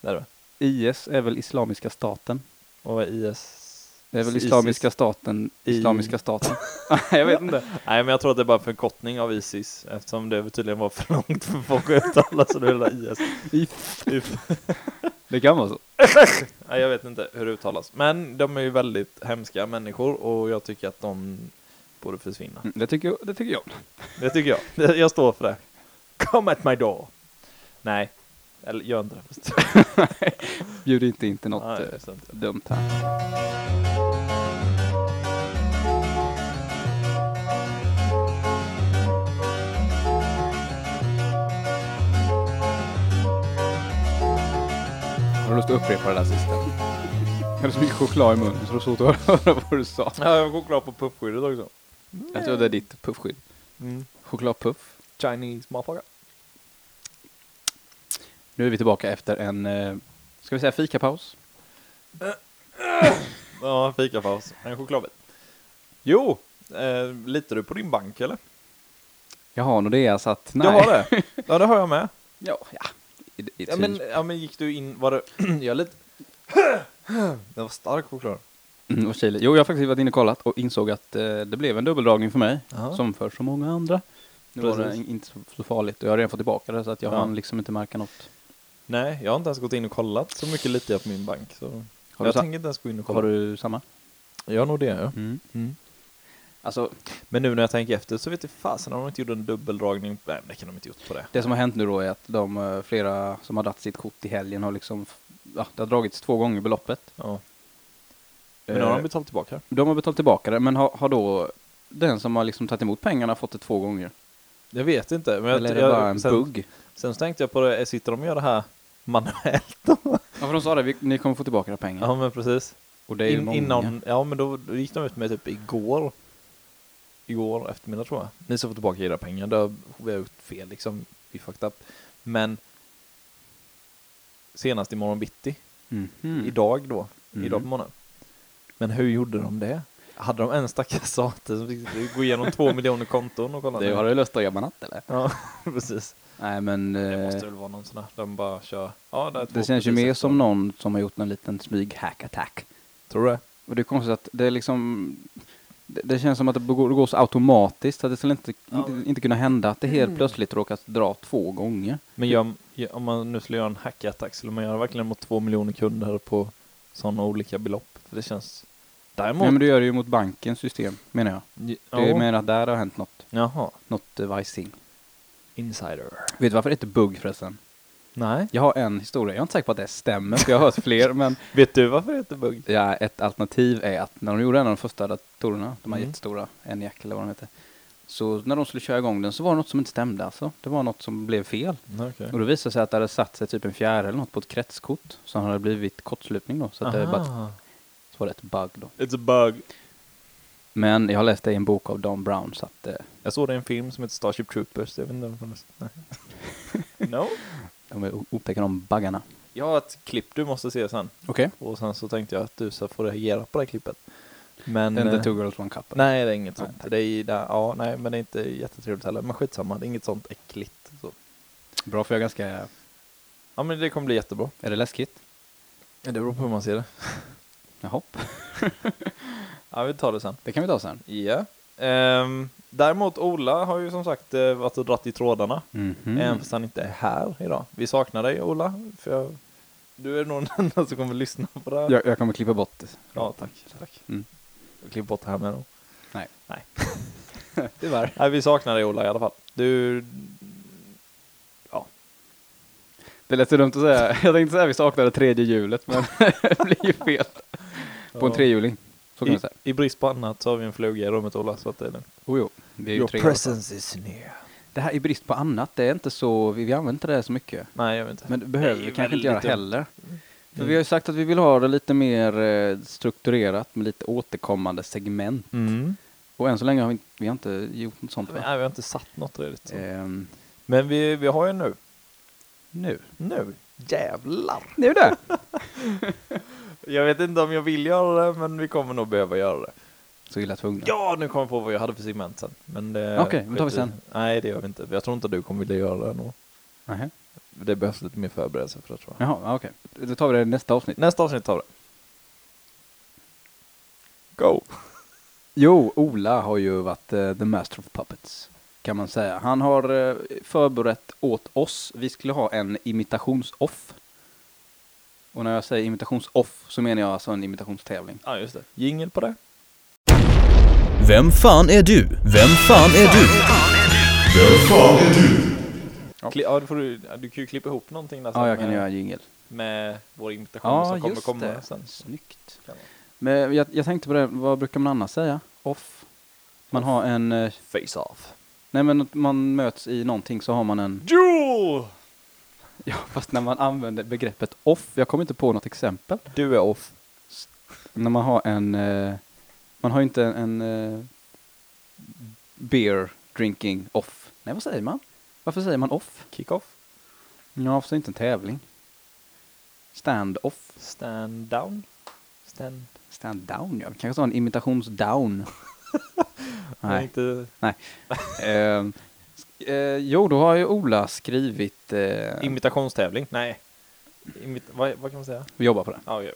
B: det är det.
A: IS är väl Islamiska staten?
B: Och IS?
A: Det är väl
B: Isis.
A: Islamiska staten,
B: I-
A: Islamiska staten. jag vet inte.
B: Nej, men jag tror att det är bara en förkortning av Isis eftersom det tydligen var för långt för folk att uttala så det är IS. If.
A: Det kan vara så.
B: Nej, jag vet inte hur det uttalas. Men de är ju väldigt hemska människor och jag tycker att de borde försvinna.
A: Mm, Det tycker jag. Det tycker jag.
B: Det tycker jag. Det- Jag står för det. Come at my door. Nej, eller gör inte det.
A: Bjud inte in till något
B: Nej,
A: eh,
B: det är sant.
A: dumt här. Har du lust att upprepa det där sista? Jag hade så mycket choklad i munnen så det var svårt att höra vad du sa.
B: Ja, jag går klar på puffskyddet också.
A: Jag tror det är ditt puffskydd. Mm. Chokladpuff.
B: Chinese motherfucker.
A: Nu är vi tillbaka efter en, eh, ska vi säga fikapaus?
B: Ja, fikapaus. En chokladbit. Jo, eh, litar du på din bank eller?
A: Jag har Nordea så att nej.
B: Jag har det. Ja, det har jag med.
A: Ja, ja. I, i, typ.
B: Ja men, ja, men gick du in, var det, jag är lite... det var stark choklad.
A: Mm, och Chile. Jo, jag har faktiskt varit inne och kollat och insåg att eh, det blev en dubbeldragning för mig,
B: Jaha.
A: som för så många andra. Nu var det
B: Precis.
A: in- inte så- så farligt och jag har redan fått tillbaka det så att jag
B: Ja.
A: hann liksom inte märka något.
B: Nej, jag har inte ens gått in och kollat. Så mycket litar jag på min bank. Så.
A: Har du,
B: jag
A: sa-
B: tänker inte ens gå in och kolla.
A: har du samma?
B: Jag har nog det, ja.
A: Mm.
B: Mm.
A: Alltså,
B: Men nu när jag tänker efter så vet jag fasen om de inte gjorde en dubbeldragning. Nej, men det kan de inte gjort på det.
A: det som har hänt nu då är att de eh, flera som har dragit sitt kort i helgen har liksom, f- ja, det har dragits två gånger beloppet.
B: Ja. Men nu har
A: Eh,
B: de betalat tillbaka.
A: de har betalat tillbaka det, men har, har då den som har liksom tagit emot pengarna fått det två gånger?
B: Jag vet inte. Men
A: Eller är
B: jag,
A: det
B: jag,
A: bara en
B: sen,
A: bugg?
B: Sen så tänkte jag på det, sitter de och gör det här manuellt?
A: Ja, för de sa det, vi, ni kommer få tillbaka era pengar.
B: Ja, men precis.
A: Och det är ju
B: In,
A: många.
B: innan, ja men då, då gick de ut med typ igår. Igår eftermiddag tror jag. Ni ska få tillbaka era pengar. Då har vi gjort fel liksom. Vi fucked up. Men senast imorgon bitti.
A: Mhm.
B: Idag då.
A: Mm.
B: Idag på morgonen. Men hur gjorde de det? Hade de en stackars sate som fick gå igenom två miljoner konton och kolla?
A: Det har du lust att göra natt eller?
B: Ja, precis.
A: Nej men
B: Det
A: det,
B: måste väl vara någon sån här. De bara kör. Ja, där är två
A: Eh, det känns ju
B: precis
A: mer
B: efter
A: som
B: varandra.
A: någon som har gjort en liten smyg hackattack.
B: Tror du det?
A: Och det är konstigt att det är liksom det, det känns som att det går, det går så automatiskt att det skulle inte,
B: Ja.
A: inte, inte kunna hända att det helt plötsligt råkas dra två gånger.
B: Men gör, gör- om man nu skulle göra en hackattack, skulle man göra verkligen mot två miljoner kunder på sådana olika belopp? För det känns... Däremot...
A: Nej men du gör det ju mot bankens system menar jag.
B: ja,
A: Du menar att där har hänt något,
B: Jaha.
A: något eh, vajsing.
B: Insider.
A: Vet du varför det heter bugg förresten?
B: Nej.
A: Jag har en historia, jag är inte säker på att det stämmer för jag har hört fler men
B: Vet du varför det heter bugg?
A: Ja, ett alternativ är att när de gjorde en av de första datorerna, de här
B: Mm.
A: jättestora, ENIAC eller vad de heter, så när de skulle köra igång den så var det något som inte stämde alltså. Det var något som blev fel.
B: Okej.
A: Och det visade sig att det hade satt sig typ en fjäril eller något på ett kretskort som hade blivit kortslutning då. Så, att det bara,
B: Aha.
A: så var det ett bug då.
B: It's a bug.
A: Men jag har läst det i en bok av Don Brown så att eh,
B: Jag såg det i en film som heter Starship Troopers. Jag vet inte om det var... Nej. no?
A: de är o- otäcka de buggarna.
B: Jag har ett klipp du måste se sen.
A: Okej.
B: Och sen så tänkte jag att du så får reagera på det här klippet. Men...
A: And
B: eh,
A: the two girls one cup.
B: Nej, det är inget
A: Nej,
B: sånt. Det är, ju där- ja, nej, men det är inte jättetrevligt heller. Men skitsamma, det är inget sånt äckligt. Så.
A: Bra för jag är ganska,
B: Ja, men det kommer bli jättebra.
A: är det läskigt?
B: Det beror på hur man ser det.
A: Jaha,
B: Ja, vi tar det sen.
A: det kan vi ta sen.
B: Ja. Ehm, däremot Ola har ju som sagt eh, varit och dratt i trådarna.
A: Mhm.
B: Även fast han inte är här idag. Vi saknar dig Ola. För jag, du är nog den enda som kommer lyssna på det här.
A: Jag, jag kommer klippa bort det.
B: Ja, tack. tack.
A: Mm.
B: Jag klipper bort det här med då.
A: Nej.
B: Nej.
A: Tyvärr.
B: Nej, vi saknar dig Ola i alla fall. Du... Ja.
A: Det lät så dumt att säga. Jag tänkte säga vi saknade tredje hjulet, men det blir ju fel. På en trehjuling. Så kan
B: I,
A: man säga.
B: I brist på annat så har vi en fluga i rummet Ola, så att det är lugnt.
A: Oh, jo. Vi är ju tre i alla fall.
B: is near.
A: Det här i brist på annat, det är inte så, vi, vi använder inte det så mycket.
B: Nej, jag vet inte.
A: Men det behöver
B: Det är
A: vi
B: ju
A: kanske inte göra
B: väldigt dumt.
A: heller. För
B: Mm.
A: vi har ju sagt att vi vill ha det lite mer eh, strukturerat med lite återkommande segment.
B: Mm.
A: Och än så länge har vi, inte- vi har inte gjort något sånt.
B: Nej, vi
A: Va?
B: har inte satt något redigt. Så.
A: Ehm,
B: Men vi, vi har ju nu.
A: nu.
B: Nu. Jävlar.
A: Nu det!
B: Jag vet inte om jag vill göra det, men vi kommer nog behöva göra det.
A: Så illa tvungna.
B: Ja, nu kommer jag på vad jag hade för segment sen. Men det...
A: Okej, men tar vi sen.
B: Nej, det gör vi inte. Jag tror inte du kommer vilja göra det nog.
A: Nähä.
B: Det behövs lite mer förberedelse för det tror jag.
A: Jaha, ja, okej. Då tar vi det i nästa avsnitt.
B: Nästa avsnitt tar vi det. Go!
A: Jo, Ola har ju varit eh, the master of puppets. Kan man säga. Han har eh, förberett åt oss. Vi skulle ha en imitationsoff. Och när jag säger imitationsoff så menar jag alltså en imitationstävling.
B: Ja, just det. Jingel på det.
C: Vem fan är du? Vem fan är du?
B: Ja. Kli- ja, då får du, ja, du kan ju klippa ihop någonting där
A: Ja, jag kan
B: Alltså, med,
A: göra en jingel.
B: med vår imitation
A: Ja,
B: som kommer
A: just
B: komma
A: det.
B: sen.
A: Snyggt.
B: Kan man.
A: Men jag, jag tänkte på det, vad brukar man annars säga? Off? Man har en... eh,
B: Face-off.
A: Nej men att man möts i någonting så har man en...
B: Duel!
A: Ja, fast när man använder begreppet off, jag kommer inte på något exempel.
B: Du är off.
A: När man har en, eh, man har ju inte en, eh, beer drinking off. Nej, vad säger man? Varför säger man off?
B: Kick-off.
A: Ja, för det är inte en tävling. Stand off.
B: Stand down. Stand...
A: Stand down, ja. Vi kanske ska ha en imitations down.
B: Nej.
A: Nej.
B: Inte
A: Nej. Ehm, sk- eh, jo, då har ju Ola skrivit, eh,
B: imitationstävling. Nej. Imit- vad, vad kan man säga?
A: vi jobbar på det.
B: Ja, okej.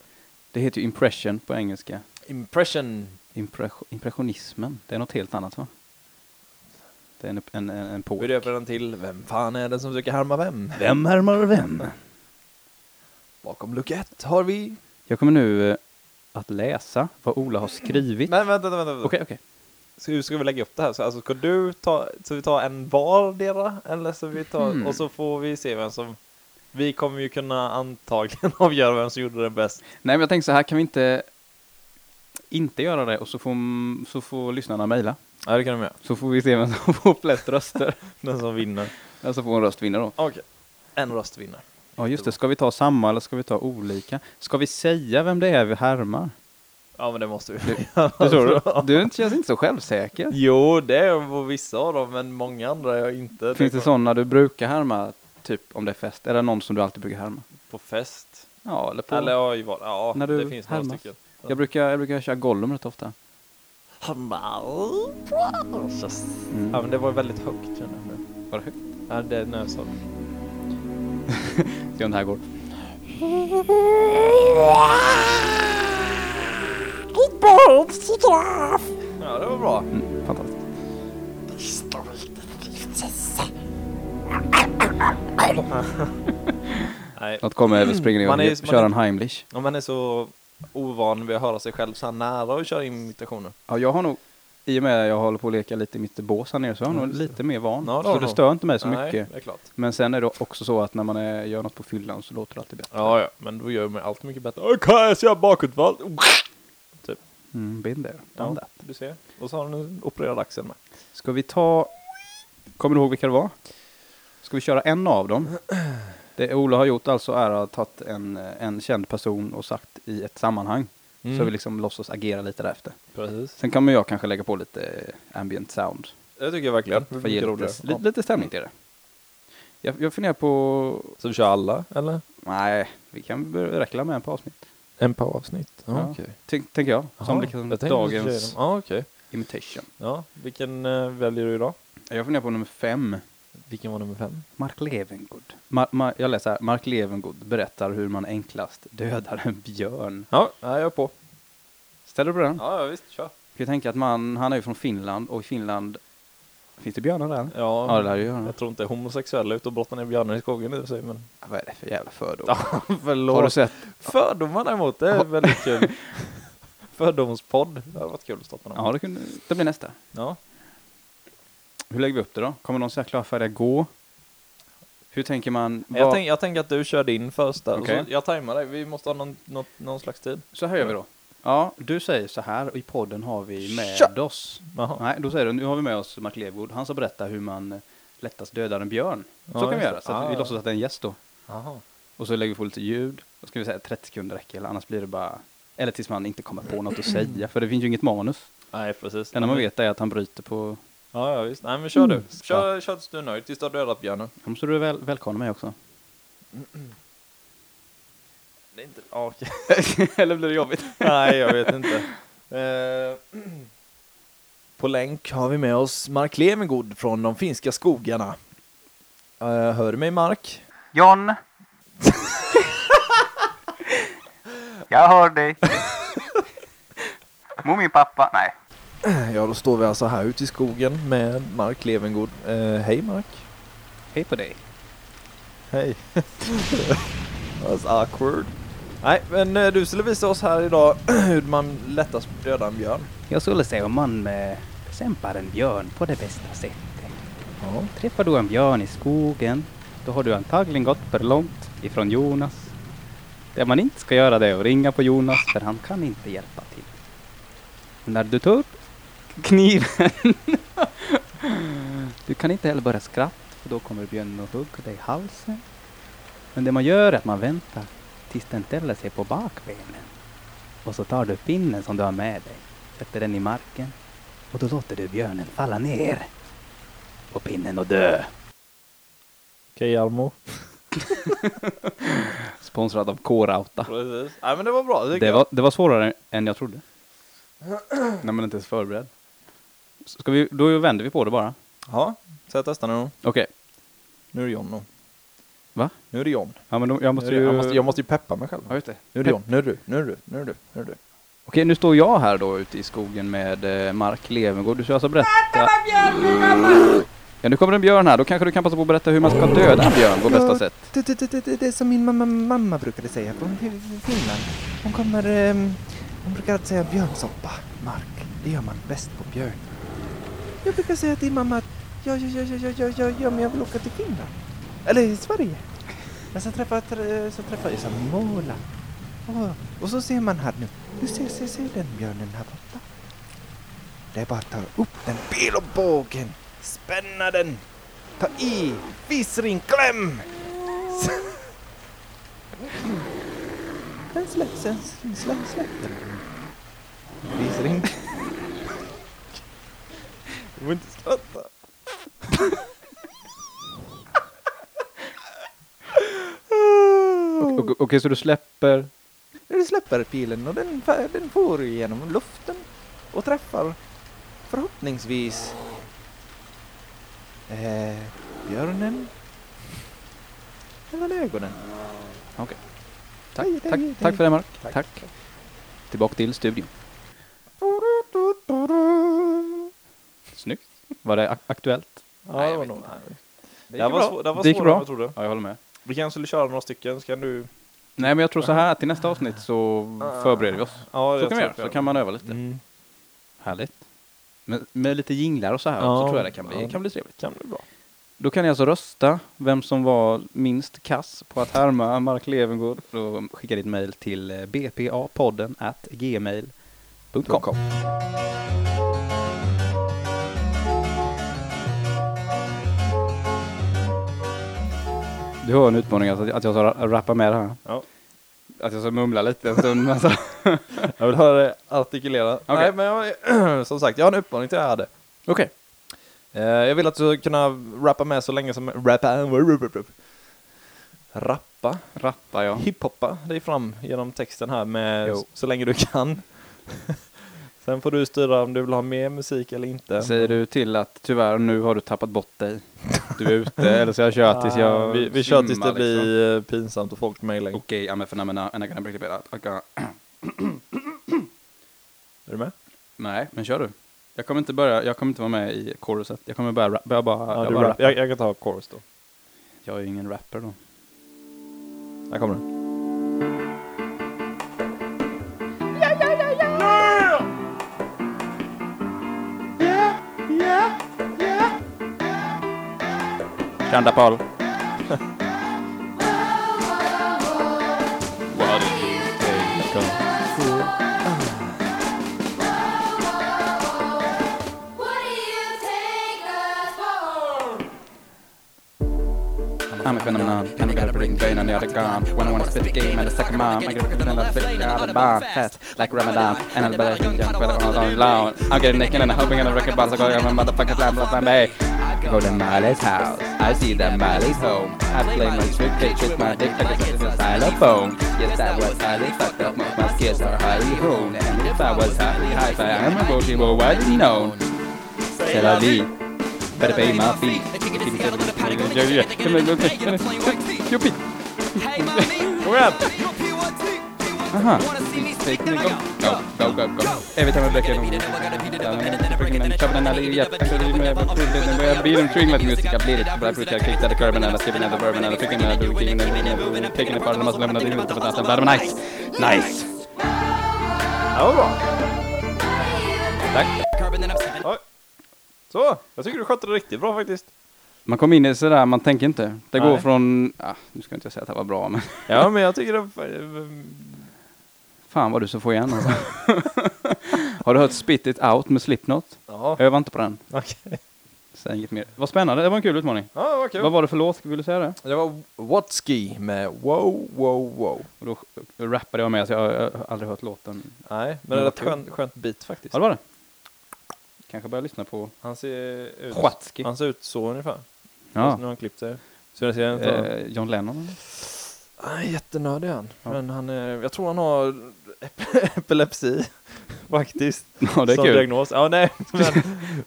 A: Det heter ju impression på engelska.
B: Impression.
A: Impression, impressionismen, det är något helt annat va? Det är en, en, en, en
B: Vi
A: påk.
B: döper den till Vem fan är den som försöker härma vem?
A: Vem härmar vem?
B: Bakom lucka ett har vi...
A: Jag kommer nu eh, att läsa vad Ola har skrivit.
B: Nej, vänta, vänta. vänta.
A: Okej, okej.
B: Så hur ska vi lägga upp det här? Så, alltså, ska du ta, så vi tar en vardera? Eller så vi tar,
A: Hmm.
B: Och så får vi se vem som... Vi kommer ju kunna antagligen avgöra vem som gjorde det bäst.
A: Nej, men jag tänker så här, kan vi inte inte göra det och så får, så får lyssnarna mejla.
B: Ja, det kan de göra.
A: Så får vi se vem som får flest röster.
B: Den som vinner.
A: Den som får en röst vinner då.
B: Okej. En röst vinner.
A: Ja, just det. Ska vi ta samma eller ska vi ta olika? Ska vi säga vem det är vi härmar?
B: Ja, men det måste vi.
A: Det tror du? Du känns inte så självsäker.
B: Jo, det är på vissa av dem, men många andra är jag inte.
A: Finns det sådana du brukar härma, typ om det är fest? Är det någon som du alltid brukar härma?
B: På fest.
A: Ja, eller på...
B: Eller ja, i var- ja
A: När du
B: det finns några
A: härmas.
B: stycken.
A: jag, brukar, jag brukar köra Gollum rätt ofta. Mm.
B: Ja, men det var väldigt högt kände jag.
A: Var det högt?
B: Ja, det är när jag sa
A: Se om det här går.
B: Ja, det var bra.
A: Mm, fantastiskt.
B: Nej,
A: Något kommer eller springer
B: Man är ju-
A: igång.
B: man
A: Kör
B: är-
A: en Heimlich.
B: om man är så ovan vid att höra sig själv så här nära och köra imitationer.
A: Ja, jag har nog, i och med att jag håller på att leka lite i mitt bås här nere, så jag har nog lite mer van.
B: Mm. Ja, det
A: så
B: har du
A: det
B: nog.
A: stör inte mig så
B: Nej,
A: mycket.
B: det är klart.
A: Men sen är det också så att när man är, gör något på fyllan så låter det alltid bättre.
B: Ja, ja, men då gör man allt mycket bättre. Okej, jag ser bakåtvolt.
A: Mm, been there, done that.
B: du ser. Och så har han en opererad axel med.
A: Ska vi ta... Kommer du ihåg vilka det var? Ska vi köra en av dem? Det Ola har gjort alltså är att ha tagit en, eh, en känd person och sagt i ett sammanhang. Så vi liksom låtsas agera lite därefter.
B: Mm. Precis.
A: Sen kan man jag kanske lägga på lite eh, ambient sound.
B: Det tycker jag verkligen. Det är
A: För att ge
B: mycket
A: lite,
B: roligare.
A: li, lite stämning till det. Jag, jag funderar på...
B: Så vi kör alla, eller?
A: Nej, vi kan börja räkna med en par avsnitt.
B: En par avsnitt.
A: Ja. Tänk- Tänker jag. Som liksom dagens
B: Ja, okej.
A: imitation.
B: Ja, vilken eh, väljer du idag?
A: Jag funderar på nummer fem.
B: Vilken var nummer fem?
A: Mark Levengood. Mar, Mar, jag läser här. Mark Levengood berättar hur man enklast dödar en björn.
B: Ja, ja, jag är på.
A: Ställer du på den?
B: Ja, ja visst, kör.
A: För Jag tänker att man, han är ju från Finland och i Finland... Finns det björnar där? Ja,
B: Ja,
A: det lär ju göra.
B: jag tror inte homosexuella är ute och brottar ner björnar i skogen nu sig, men...
A: Vad är det för jävla fördom?
B: Förlåt.
A: Har du sett?
B: Fördomar däremot, det är väldigt kul. Fördomspodd, det hade varit kul att starta någon.
A: Ja, det, kunde, det blir nästa.
B: Ja.
A: Hur lägger vi upp det då? Kommer någon säga klarfärdiga gå? Hur tänker man?
B: Jag,
A: Vad-
B: tänk, jag tänker att du kör din först där. och
A: Okej.
B: så- Jag tajmar dig, vi måste ha någon, någon, någon slags tid.
A: Så här gör vi då. Ja, du säger så här och i podden har vi med
B: Tja!
A: oss.
B: Jaha.
A: Nej, då säger du nu har vi med oss Mark Levengood. Han ska berätta hur man eh, lättast dödar en björn. Så
B: Ja,
A: kan
B: just
A: vi göra.
B: det.
A: Så att
B: Ah,
A: vi
B: ja.
A: låtsas att det är en gäst då.
B: Jaha.
A: Och så lägger vi på lite ljud. Då ska vi säga 30 sekunder räcker, eller annars blir det bara... Eller tills man inte kommer på något att säga, för det finns ju inget manus.
B: Nej, precis.
A: Det enda man vet är att han bryter på...
B: Ja, ja, visst. Nej, men kör du.
A: Mm.
B: Kör, kör tills du är nöjd, tills du har dödat björnen.
A: Då måste du väl, välkomna mig också.
B: Det är inte... Ja, okej.
A: eller blir det jobbigt?
B: Nej, jag vet inte. Eh, På länk har vi med oss Mark Levengood från de finska skogarna. Eh, Hör du mig, Mark?
D: John. Jag hör dig. Mor min pappa, nej.
B: Ja, då står vi alltså här ute i skogen med Mark Levengood. Eh, hej Mark.
A: Hej på dig.
B: Hej. That's awkward. Nej, men eh, du skulle visa oss här idag hur man lättast dödar en björn.
A: Jag skulle säga om man eh, bekämpar en björn på det bästa sättet.
B: Ja.
A: Träffar du en björn i skogen, då har du antagligen gått för långt ifrån Jonas. Det man inte ska göra det är att ringa på Jonas, för han kan inte hjälpa till. Men när du tar upp kniven, du kan inte heller börja skratta, för då kommer björnen att hugga dig i halsen. Men det man gör är att man väntar tills den ställer sig på bakbenen. Och så tar du pinnen som du har med dig, sätter den i marken och då låter du björnen falla ner på pinnen och dö.
B: Okej, Jarmo.
A: Sponsrad av K-Rauta.
B: Precis. Nej, men det var bra. tycker
A: Det var, det var svårare än jag trodde. När man inte är förberedd. Ska vi, då vänder vi på det bara.
B: jag. Ja, så jag testar nu.
A: Okej.
B: Nu är det John nu.
A: Va?
B: Nu är det John.
A: Ja, men då, jag måste
B: Nu är det-
A: ju...
B: jag, måste, jag måste ju peppa mig själv.
A: Ja, just det.
B: Nu är det John. Nu är det du. Nu är det du. Nu är det du. Nu är det du.
A: Okej, nu står jag här då ute i skogen med eh, Mark Levengård. Du ska alltså berätta... Ja, nu kommer en björn här. Då kanske du kan passa på att berätta hur man ska döda en björn på bästa sätt.
E: Det, det, det, det, det är som min mamma, mamma brukade säga från Fi- Finland. Hon kommer... ehm, hon brukar alltid säga björnsoppa, Mark. Det gör man bäst på björn. Jag brukar säga till mamma att ja, ja, ja, ja, ja, ja, ja, ja men jag vill åka till Finland. Eller Sverige. Men sen träffar, tr- sen träffar jag Samola. Åh, och så ser man här nu. Du ser, ser, ser den björnen här borta. Det är bara att ta upp den, pil och bågen. Spänna den. Ta i, visring, kläm! Sen släpp, sen släpp, släpp den. Visring.
B: Du får inte skratta.
A: Okej, okej, så du släpper...
E: Du släpper pilen och den, fa- den får genom luften och träffar förhoppningsvis eh, björnen mellan ögonen.
A: Tack,
E: Hej, hej,
A: tack,
E: hej.
A: tack för det, Mark. Tack. Tillbaka till studion. Snyggt. Var det ak- aktuellt?
B: Ja, det var nog. Det här var, svår, det här var
A: Det gick
B: svårare än
A: bra.
B: jag trodde.
A: Ja, jag håller med.
B: Vi kanske skulle köra några stycken, så kan du...
A: Nej, men jag tror så här till nästa avsnitt så förbereder vi oss.
B: Ja,
A: Så
B: jag
A: kan vi
B: tror
A: göra,
B: att vi
A: så kan man öva lite.
B: Mm.
A: Härligt. Med, med lite jinglar och så här
B: Ja.
A: så tror jag det kan bli,
B: Ja.
A: kan bli trevligt.
B: kan bli bra.
A: Då kan ni alltså rösta vem som var minst kass på att härma Mark Levengood och skicka ditt mejl till eh, bpapodden at gmail.com. Du har en utmaning alltså, att jag ska rappa med det här.
B: Ja.
A: Att jag ska mumla lite en stund. Alltså.
B: Jag vill höra dig artikulera. Nej, men jag, som sagt, jag har en uppmaning till er hade.
A: Okej.
B: Eh, jag vill att du ska kunna rappa med så länge som... Rappa... Rappa?
A: Rappa ja.
B: Hiphoppa dig fram genom texten här med
A: Jo.
B: så länge du kan. Sen får du styra om du vill ha mer musik eller inte.
A: Säger du till att tyvärr nu har du tappat bort dig. Du är ute eller så jag kör tills jag
B: Ah, vi vi kör tills
A: svimmar,
B: det blir
A: liksom.
B: eh, pinsamt och folk mejlar in.
A: Okej, ja men för när man är kan bli
B: Är du med?
A: Nej, men kör du. Jag kommer inte börja, jag kommer inte vara med i choruset. Jag kommer börja, rap, jag bara,
B: Ja,
A: jag,
B: du
A: bara
B: rap.
A: rappar.
B: Jag, jag kan ta chorus då.
A: jag är ju ingen rapper då.
B: Här kommer den.
A: Kanda Paul.
F: What do you take us for?
A: I'm a phenomenon, and we gotta bring pain on the other gun. When I wanna spit the game and the second mom, I gotta put another flick out the bomb fast, like Ramadan. And I'm better than young, better all on loan. I'm getting naked and I'm hoping on a record box, I go to my motherfucker's lab, love my babe. I go to Miley's house, I see that Miley's home. I play my trick, they trick my dick like it's a xylophone. Yes, I was highly fucked up, my my skills are highly honed. And if I was highly high, I am a bougie, well, widely known. C'est la vie. Better pay my fee. You're
G: Hey, mommy.
B: Kom igen!
G: You're P1T, P1T.
A: Aha. Every time I black Nice! Nice!
B: Ja, vad bra. Tack. Oj. Så, jag tycker du skötte det riktigt bra faktiskt.
A: Man kommer in i sådär, man tänker inte. Det går
B: Nej.
A: från, ah, nu ska jag inte säga att det var bra, men
B: Ja, men jag tycker det...
A: fan vad du så får igen alltså. Har du hört Spit It Out med Slipknot?
B: Ja,
A: Öva inte på den.
B: okej.
A: Säg inget mer. Vad spännande, det var en kul utmaning.
B: Ja, vad kul.
A: Vad var det för låt? Vill du säga det?
B: Det var Whatski med Wow, Wow, Wow.
A: Och då rappade jag med att jag, jag har aldrig hört låten.
B: Nej, men
A: Men
B: det är
A: vad
B: ett
A: kul.
B: skönt, skönt beat faktiskt.
A: Ja, det var det. Kanske börja lyssna på
B: Han ser ut...
A: Schwatzky.
B: Han ser ut så ungefär. Fast Nu
A: Ja.
B: har han klippt sig. Så jag ser inte honom.
A: Eh, John Lennon eller?
B: Han är jättenördig han.
A: Ja.
B: Men han är, jag tror han har epilepsi faktiskt.
A: Ja, det är
B: som
A: kul.
B: diagnos. Ja, nej. Men,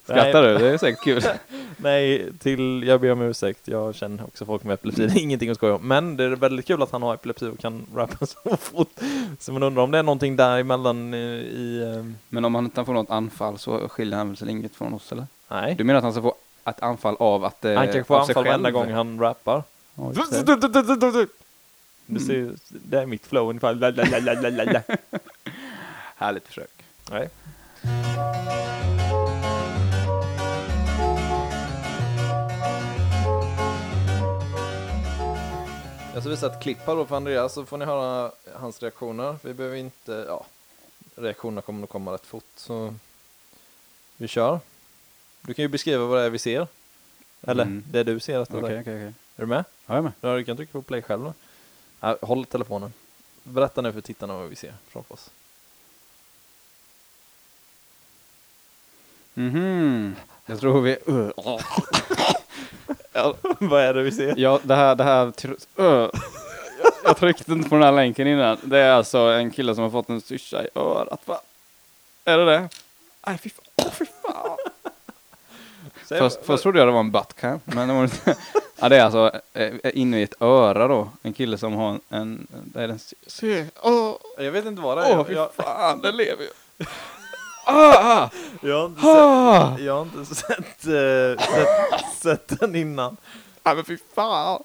A: Skrattar du? Det är säkert kul.
B: Nej, till, jag ber om ursäkt. Jag känner också folk med epilepsi. Det är ingenting att skoja om. Men det är väldigt kul att han har epilepsi och kan rappa så fort. Så man undrar om det är någonting däremellan eh, i... eh,
A: Men om han inte får något anfall så skiljer han väl sig inget från oss eller?
B: Nej.
A: Du menar att han ska få ett anfall av att... eh,
B: Han kanske får
A: av sig
B: anfall
A: själv?
B: varenda gång han rappar.
A: Ja, just det. Mm.
B: Du ser, det är mitt flow ungefär. La, la, la, la, la, la, la.
A: Härligt försök.
B: Nej. Jag ska visa ett klipp här då för Andreas så får ni höra hans reaktioner. Vi behöver inte, ja, reaktionerna kommer nog komma rätt fort så vi kör. Du kan ju beskriva vad det är vi ser. Eller
A: Mm.
B: det du ser rättare
A: Okej,
B: sagt.
A: okej, okej.
B: Är du med?
A: Ja, jag är med.
B: Ja, Du kan trycka på play själv då. Ja, håll telefonen. Berätta nu för tittarna vad vi ser framför oss.
A: Mhm. Jag tror vi...
B: vad är det vi ser?
A: Ja, det här... Det här tr- ö. Jag tryckte inte på den här länken innan. Det är alltså en kille som har fått en syrsa i örat, va? Är det det? Nej, fy fan. Åh, fy fan.
B: Säg
A: Först,
B: vad-
A: först trodde jag det var en buttcam, men det var inte. Ja, det är alltså eh, inne i ett öra då. En kille som har en... en det är en... sy- sy- Åh,
B: Jag vet inte vad det är.
A: åh, fy
B: jag,
A: fan, den lever ju. Ah,
B: jag har inte sett,
A: ah,
B: jag har inte sett, eh, sett, sett den innan.
A: ah, men fy fan.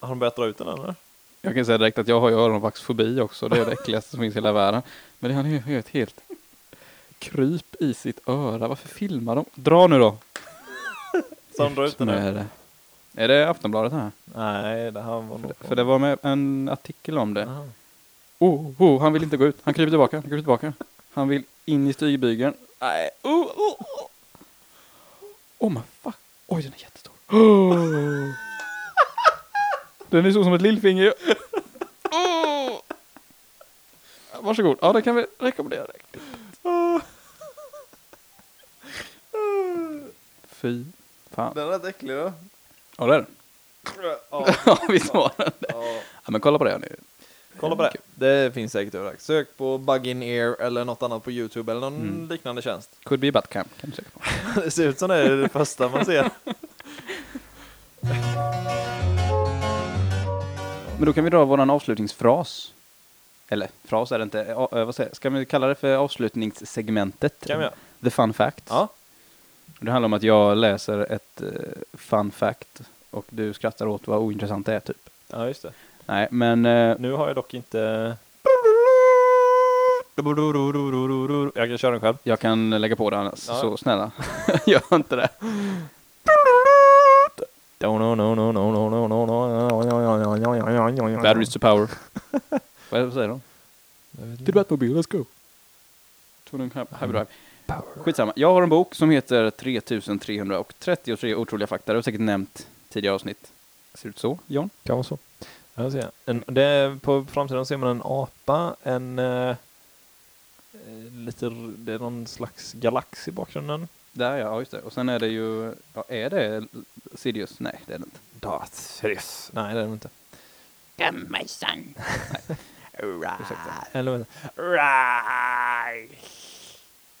B: Har de börjat dra ut den eller?
A: Jag kan säga direkt att jag har ju öronvaxfobi också. Det är det äckligaste som finns i hela världen. Men han har ju ett helt kryp i sitt öra. Varför filmar de? Dra nu då.
B: Så de drar ut den
A: Nu
B: nu?
A: är det. Är det Aftonbladet här?
B: Nej, det här var nog...
A: För det var med en artikel om det.
B: Aha.
A: Oh, oh, han vill inte gå ut. Han kryper tillbaka. Han kryper tillbaka. Han vill in i styrbygeln. Nej. Oh, oh, oh. oh my fuck. Oj, den är jättestor. Oh. Den är så som ett lillfinger. Oh. Varsågod. Ja, det kan vi rekommendera direkt. Fy fan.
B: Den är rätt äcklig då.
A: Ja, det är den.
B: Ja,
A: Ja, visst var den det.
B: ja.
A: Ja, men kolla på det här nu.
B: Kolla på det. Det finns säkert överallt. Sök på Bug In Ear eller något annat på Youtube eller någon
A: Mm.
B: liknande tjänst.
A: Could be Batcam. Kan du söka på.
B: Det ser ut som det är det första man ser.
A: Men då kan vi dra våran avslutningsfras. Eller fras är det inte. Ja, eh, vad säger jag? Ska vi kalla det för avslutningssegmentet?
B: Kan vi göra?
A: The fun fact.
B: Ja.
A: Det handlar om att jag läser ett eh, fun fact och du skrattar åt vad ointressant det är typ.
B: ja, just det.
A: Nej, men eh,
B: Nu har jag dock inte... Jag kan köra den själv.
A: jag kan lägga på det annars.
B: Ja.
A: Så snälla, gör inte det. Batteries to power. vad är det- vad säger de? Till Batmobile, let's go. Tog en happy
B: Mm.
A: drive. Skitsamma. Jag har en bok som heter 3333 otroliga fakta. Det har jag säkert nämnt tidigare avsnitt. Ser ut så, John?
B: Kan vara så. Ja, ser jag. En, det är, på framsidan ser man en apa, en... eh, eh, lite, r- det är någon slags galax i bakgrunden.
A: Där ja, ja, just det. Och sen är det ju, ja, är det Sirius? Nej, det är det inte.
B: Darth Nej, det är det inte.
D: Come, my son.
B: Eller vad heter det?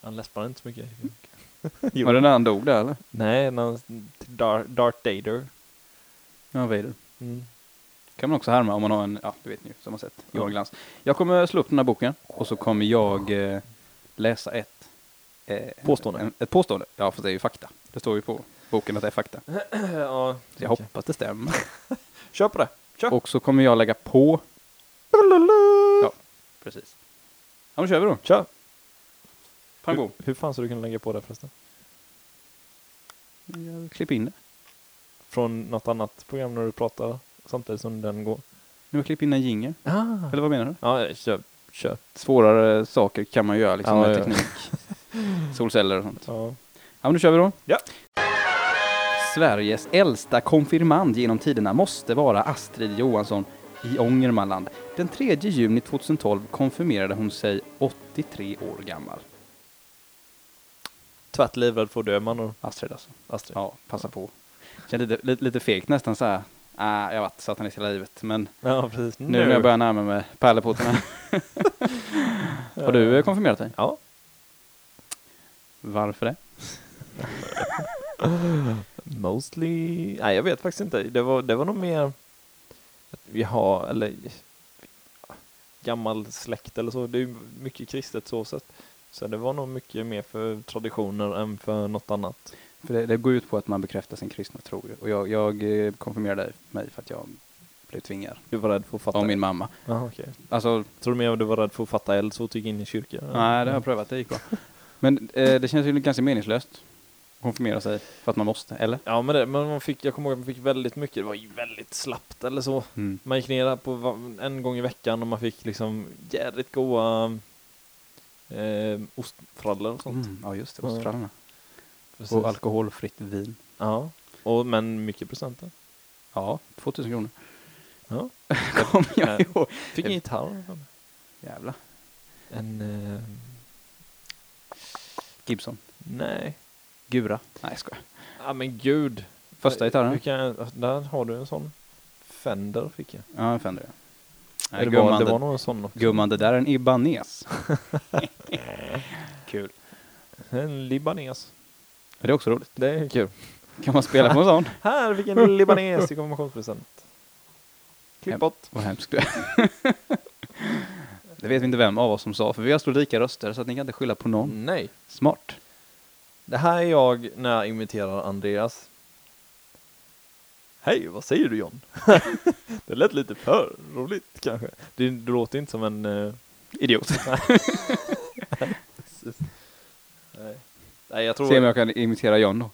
B: Han läspar inte så mycket. Jo.
A: Var det när han dog där eller?
B: Nej, någon Darth Darth Vader.
A: Ja, Vader.
B: Mm.
A: kan man också härma om man har en, ja du vet ni ju, som har sett, Johan Glans. Jag kommer slå upp den här boken och så kommer jag eh, läsa ett... eh,
B: Påstående.
A: en- Ett påstående, ja för det är ju fakta. Det står ju på boken att det är fakta. Så
B: ja,
A: jag hoppas det stämmer.
B: Kör på det. Kör.
A: Och så kommer jag lägga på... Ja, precis. Ja men kör vi då.
B: Kör.
A: Pang
B: hur,
A: bom.
B: hur fan ska du kunna lägga på det förresten?
A: Klipp in det.
B: Från något annat program när du pratar samtidigt som den går?
A: Nu har jag klippt in en jingel.
B: Ah.
A: Eller vad menar du?
B: Ja, kör. kör.
A: Svårare saker kan man göra liksom
B: Ja,
A: med
B: ja.
A: teknik. Solceller och sånt.
B: Ja.
A: Ja, men nu kör vi då.
B: Ja.
A: Sveriges äldsta konfirmand genom tiderna måste vara Astrid Johansson i Ångermanland. Den 3 juni 2012 konfirmerade hon sig 83 år gammal.
B: Tvärt livrädd för att dö man och
A: Astrid alltså.
B: Astrid.
A: Ja, passa på. Känns lite, lite, lite fegt nästan så här. Ah, jag har varit satanist hela livet, men
B: Ja, precis.
A: nu när jag börjar närma mig pärleportarna. har du eh, konfirmerat dig?
B: Ja.
A: Varför det?
B: Mostly... Nej, jag vet faktiskt inte. Det var, det var nog mer... att Vi har, eller... Gammal släkt eller så. Det är ju mycket kristet så sett. Så det var nog mycket mer för traditioner än för något annat.
A: För det, det går ut på att man bekräftar sin kristna tro. ju. Och jag, jag eh, konfirmerade mig för att jag blev tvingad
B: Du var rädd för att fatta
A: av min mamma.
B: Jaha, okej.
A: Alltså,
B: Tror du mer att du var rädd för att fatta eld så att du gick in i kyrkan?
A: nej det har jag prövat, det gick bra. Men eh, det känns ju ganska meningslöst att konfirmera sig för att man måste, eller?
B: Ja, men, det, men man fick, jag kommer ihåg att man fick väldigt mycket. Det var ju väldigt slappt eller så.
A: Mm.
B: Man gick ner där på va- en gång i veckan och man fick liksom jädrigt goda eh, ostfrallor och sånt.
A: Mm, ja just det,
B: Ja.
A: ostfrallorna.
B: Precis.
A: Och alkoholfritt vin.
B: Ja, och, men mycket presenter.
A: Ja, 2000 kronor.
B: Ja.
A: Kommer jag
B: Nej.
A: ihåg.
B: Fick en
A: Eh,
B: gitarr.
A: Jävlar.
B: En... Eh,
A: Gibson.
B: nej.
A: Gura. Nej jag skojar.
B: Ja men gud.
A: Första
B: Hur
A: gitarren.
B: kan jag, där har du en sån. Fender fick jag.
A: Ja, en Fender. ja. Nej,
B: Eller var,
A: gumman,
B: det
A: det-
B: var nog en sån också.
A: Gumman, det där är en Ibanez. Kul.
B: En libanes.
A: Är det också roligt?
B: Det är kul.
A: Kan man spela på en sån?
B: Här fick jag en libanes i konfirmationspresent. Klipp
A: Hem.
B: bort.
A: Vad hemskt du är. Det vet vi inte vem av oss som sa, för vi har så lika röster så att ni kan inte skylla på någon.
B: Nej.
A: Smart.
B: Det här är jag när jag imiterar Andreas. Hej, vad säger du John? det lät lite för roligt kanske. Du, du låter inte som en... eh,
A: Idiot.
B: Nej. Nej, jag tror...
A: Se om jag kan imitera John då.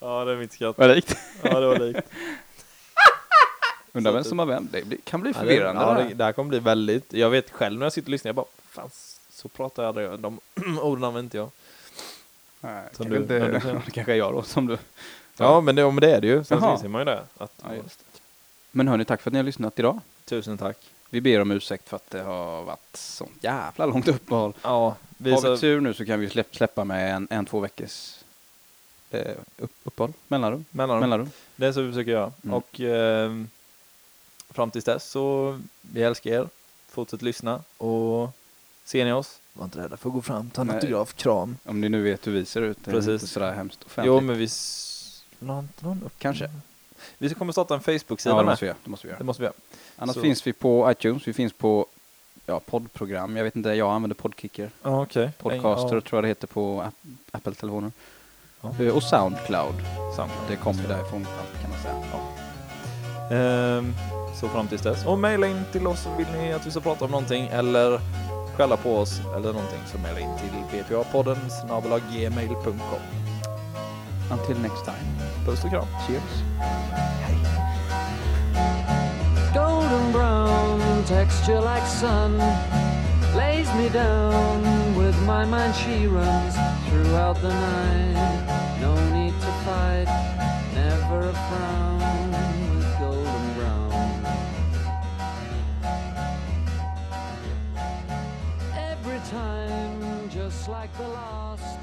B: Ja, det är mitt skratt.
A: Vad likt.
B: Ja, det var likt.
A: Undrar vem som har vem. Det blir- kan bli
B: Ja, det,
A: förvirrande.
B: ja,
A: det
B: det,
A: här.
B: det här kommer bli väldigt... Jag vet själv när jag sitter och lyssnar, jag bara... Fan, så pratar jag aldrig. De orden använder inte jag.
A: Nej,
B: Som
A: kanske
B: du-
A: inte-
B: som du säger.
A: det kanske är jag då som du.
B: Ja, men det, men det är det ju. Sen så
A: Jaha.
B: inser man ju det. Att,
A: Ja, just Men hörni, tack för att ni har lyssnat idag.
B: Tusen tack.
A: Vi ber om ursäkt för att det har varit sånt jävla långt uppehåll.
B: Ja, vi
A: Har
B: så,
A: vi tur nu så kan vi släpp, släppa med en, en två veckors eh, upp, uppehåll. Mellanrum.
B: mellan,
A: Mellanrum.
B: Det är så vi försöker göra.
A: Mm.
B: Och eh, fram tills dess så, vi älskar er. Fortsätt lyssna och ser ni oss, var inte rädda för att gå fram, ta en
A: Nej.
B: autograf, kram.
A: Om ni nu vet hur vi ser ut. Det är
B: Precis.
A: inte sådär hemskt offentligt.
B: Jo, men vi... s- la inte någon upp? Mm.
A: Kanske.
B: Vi kommer starta en Facebook-sida
A: Ja, det
B: med.
A: måste vi göra. Det måste vi
B: Det
A: göra.
B: måste vi göra.
A: Annars
B: så-
A: finns vi på iTunes, vi finns på ja, poddprogram. Jag vet inte, jag använder Podkicker.
B: Ja, okej.
A: Podcaster tror jag det heter på app- Apple-telefoner.
B: Ja.
A: Eh, Och Soundcloud.
B: Ja, Soundcloud.
A: Det kommer därifrån kan man säga.
B: Ehm, så fram tills dess. Och mejla in till oss om vill ni att vi ska prata om någonting eller skälla på oss eller någonting så mejla in till bpa-podden snabel-a gmail.com.
A: Until next time.
B: Puss och kram.
A: Cheers.
G: golden brown texture like sun lays me down with my mind she runs throughout the night no need to fight never a frown with golden brown every time just like the last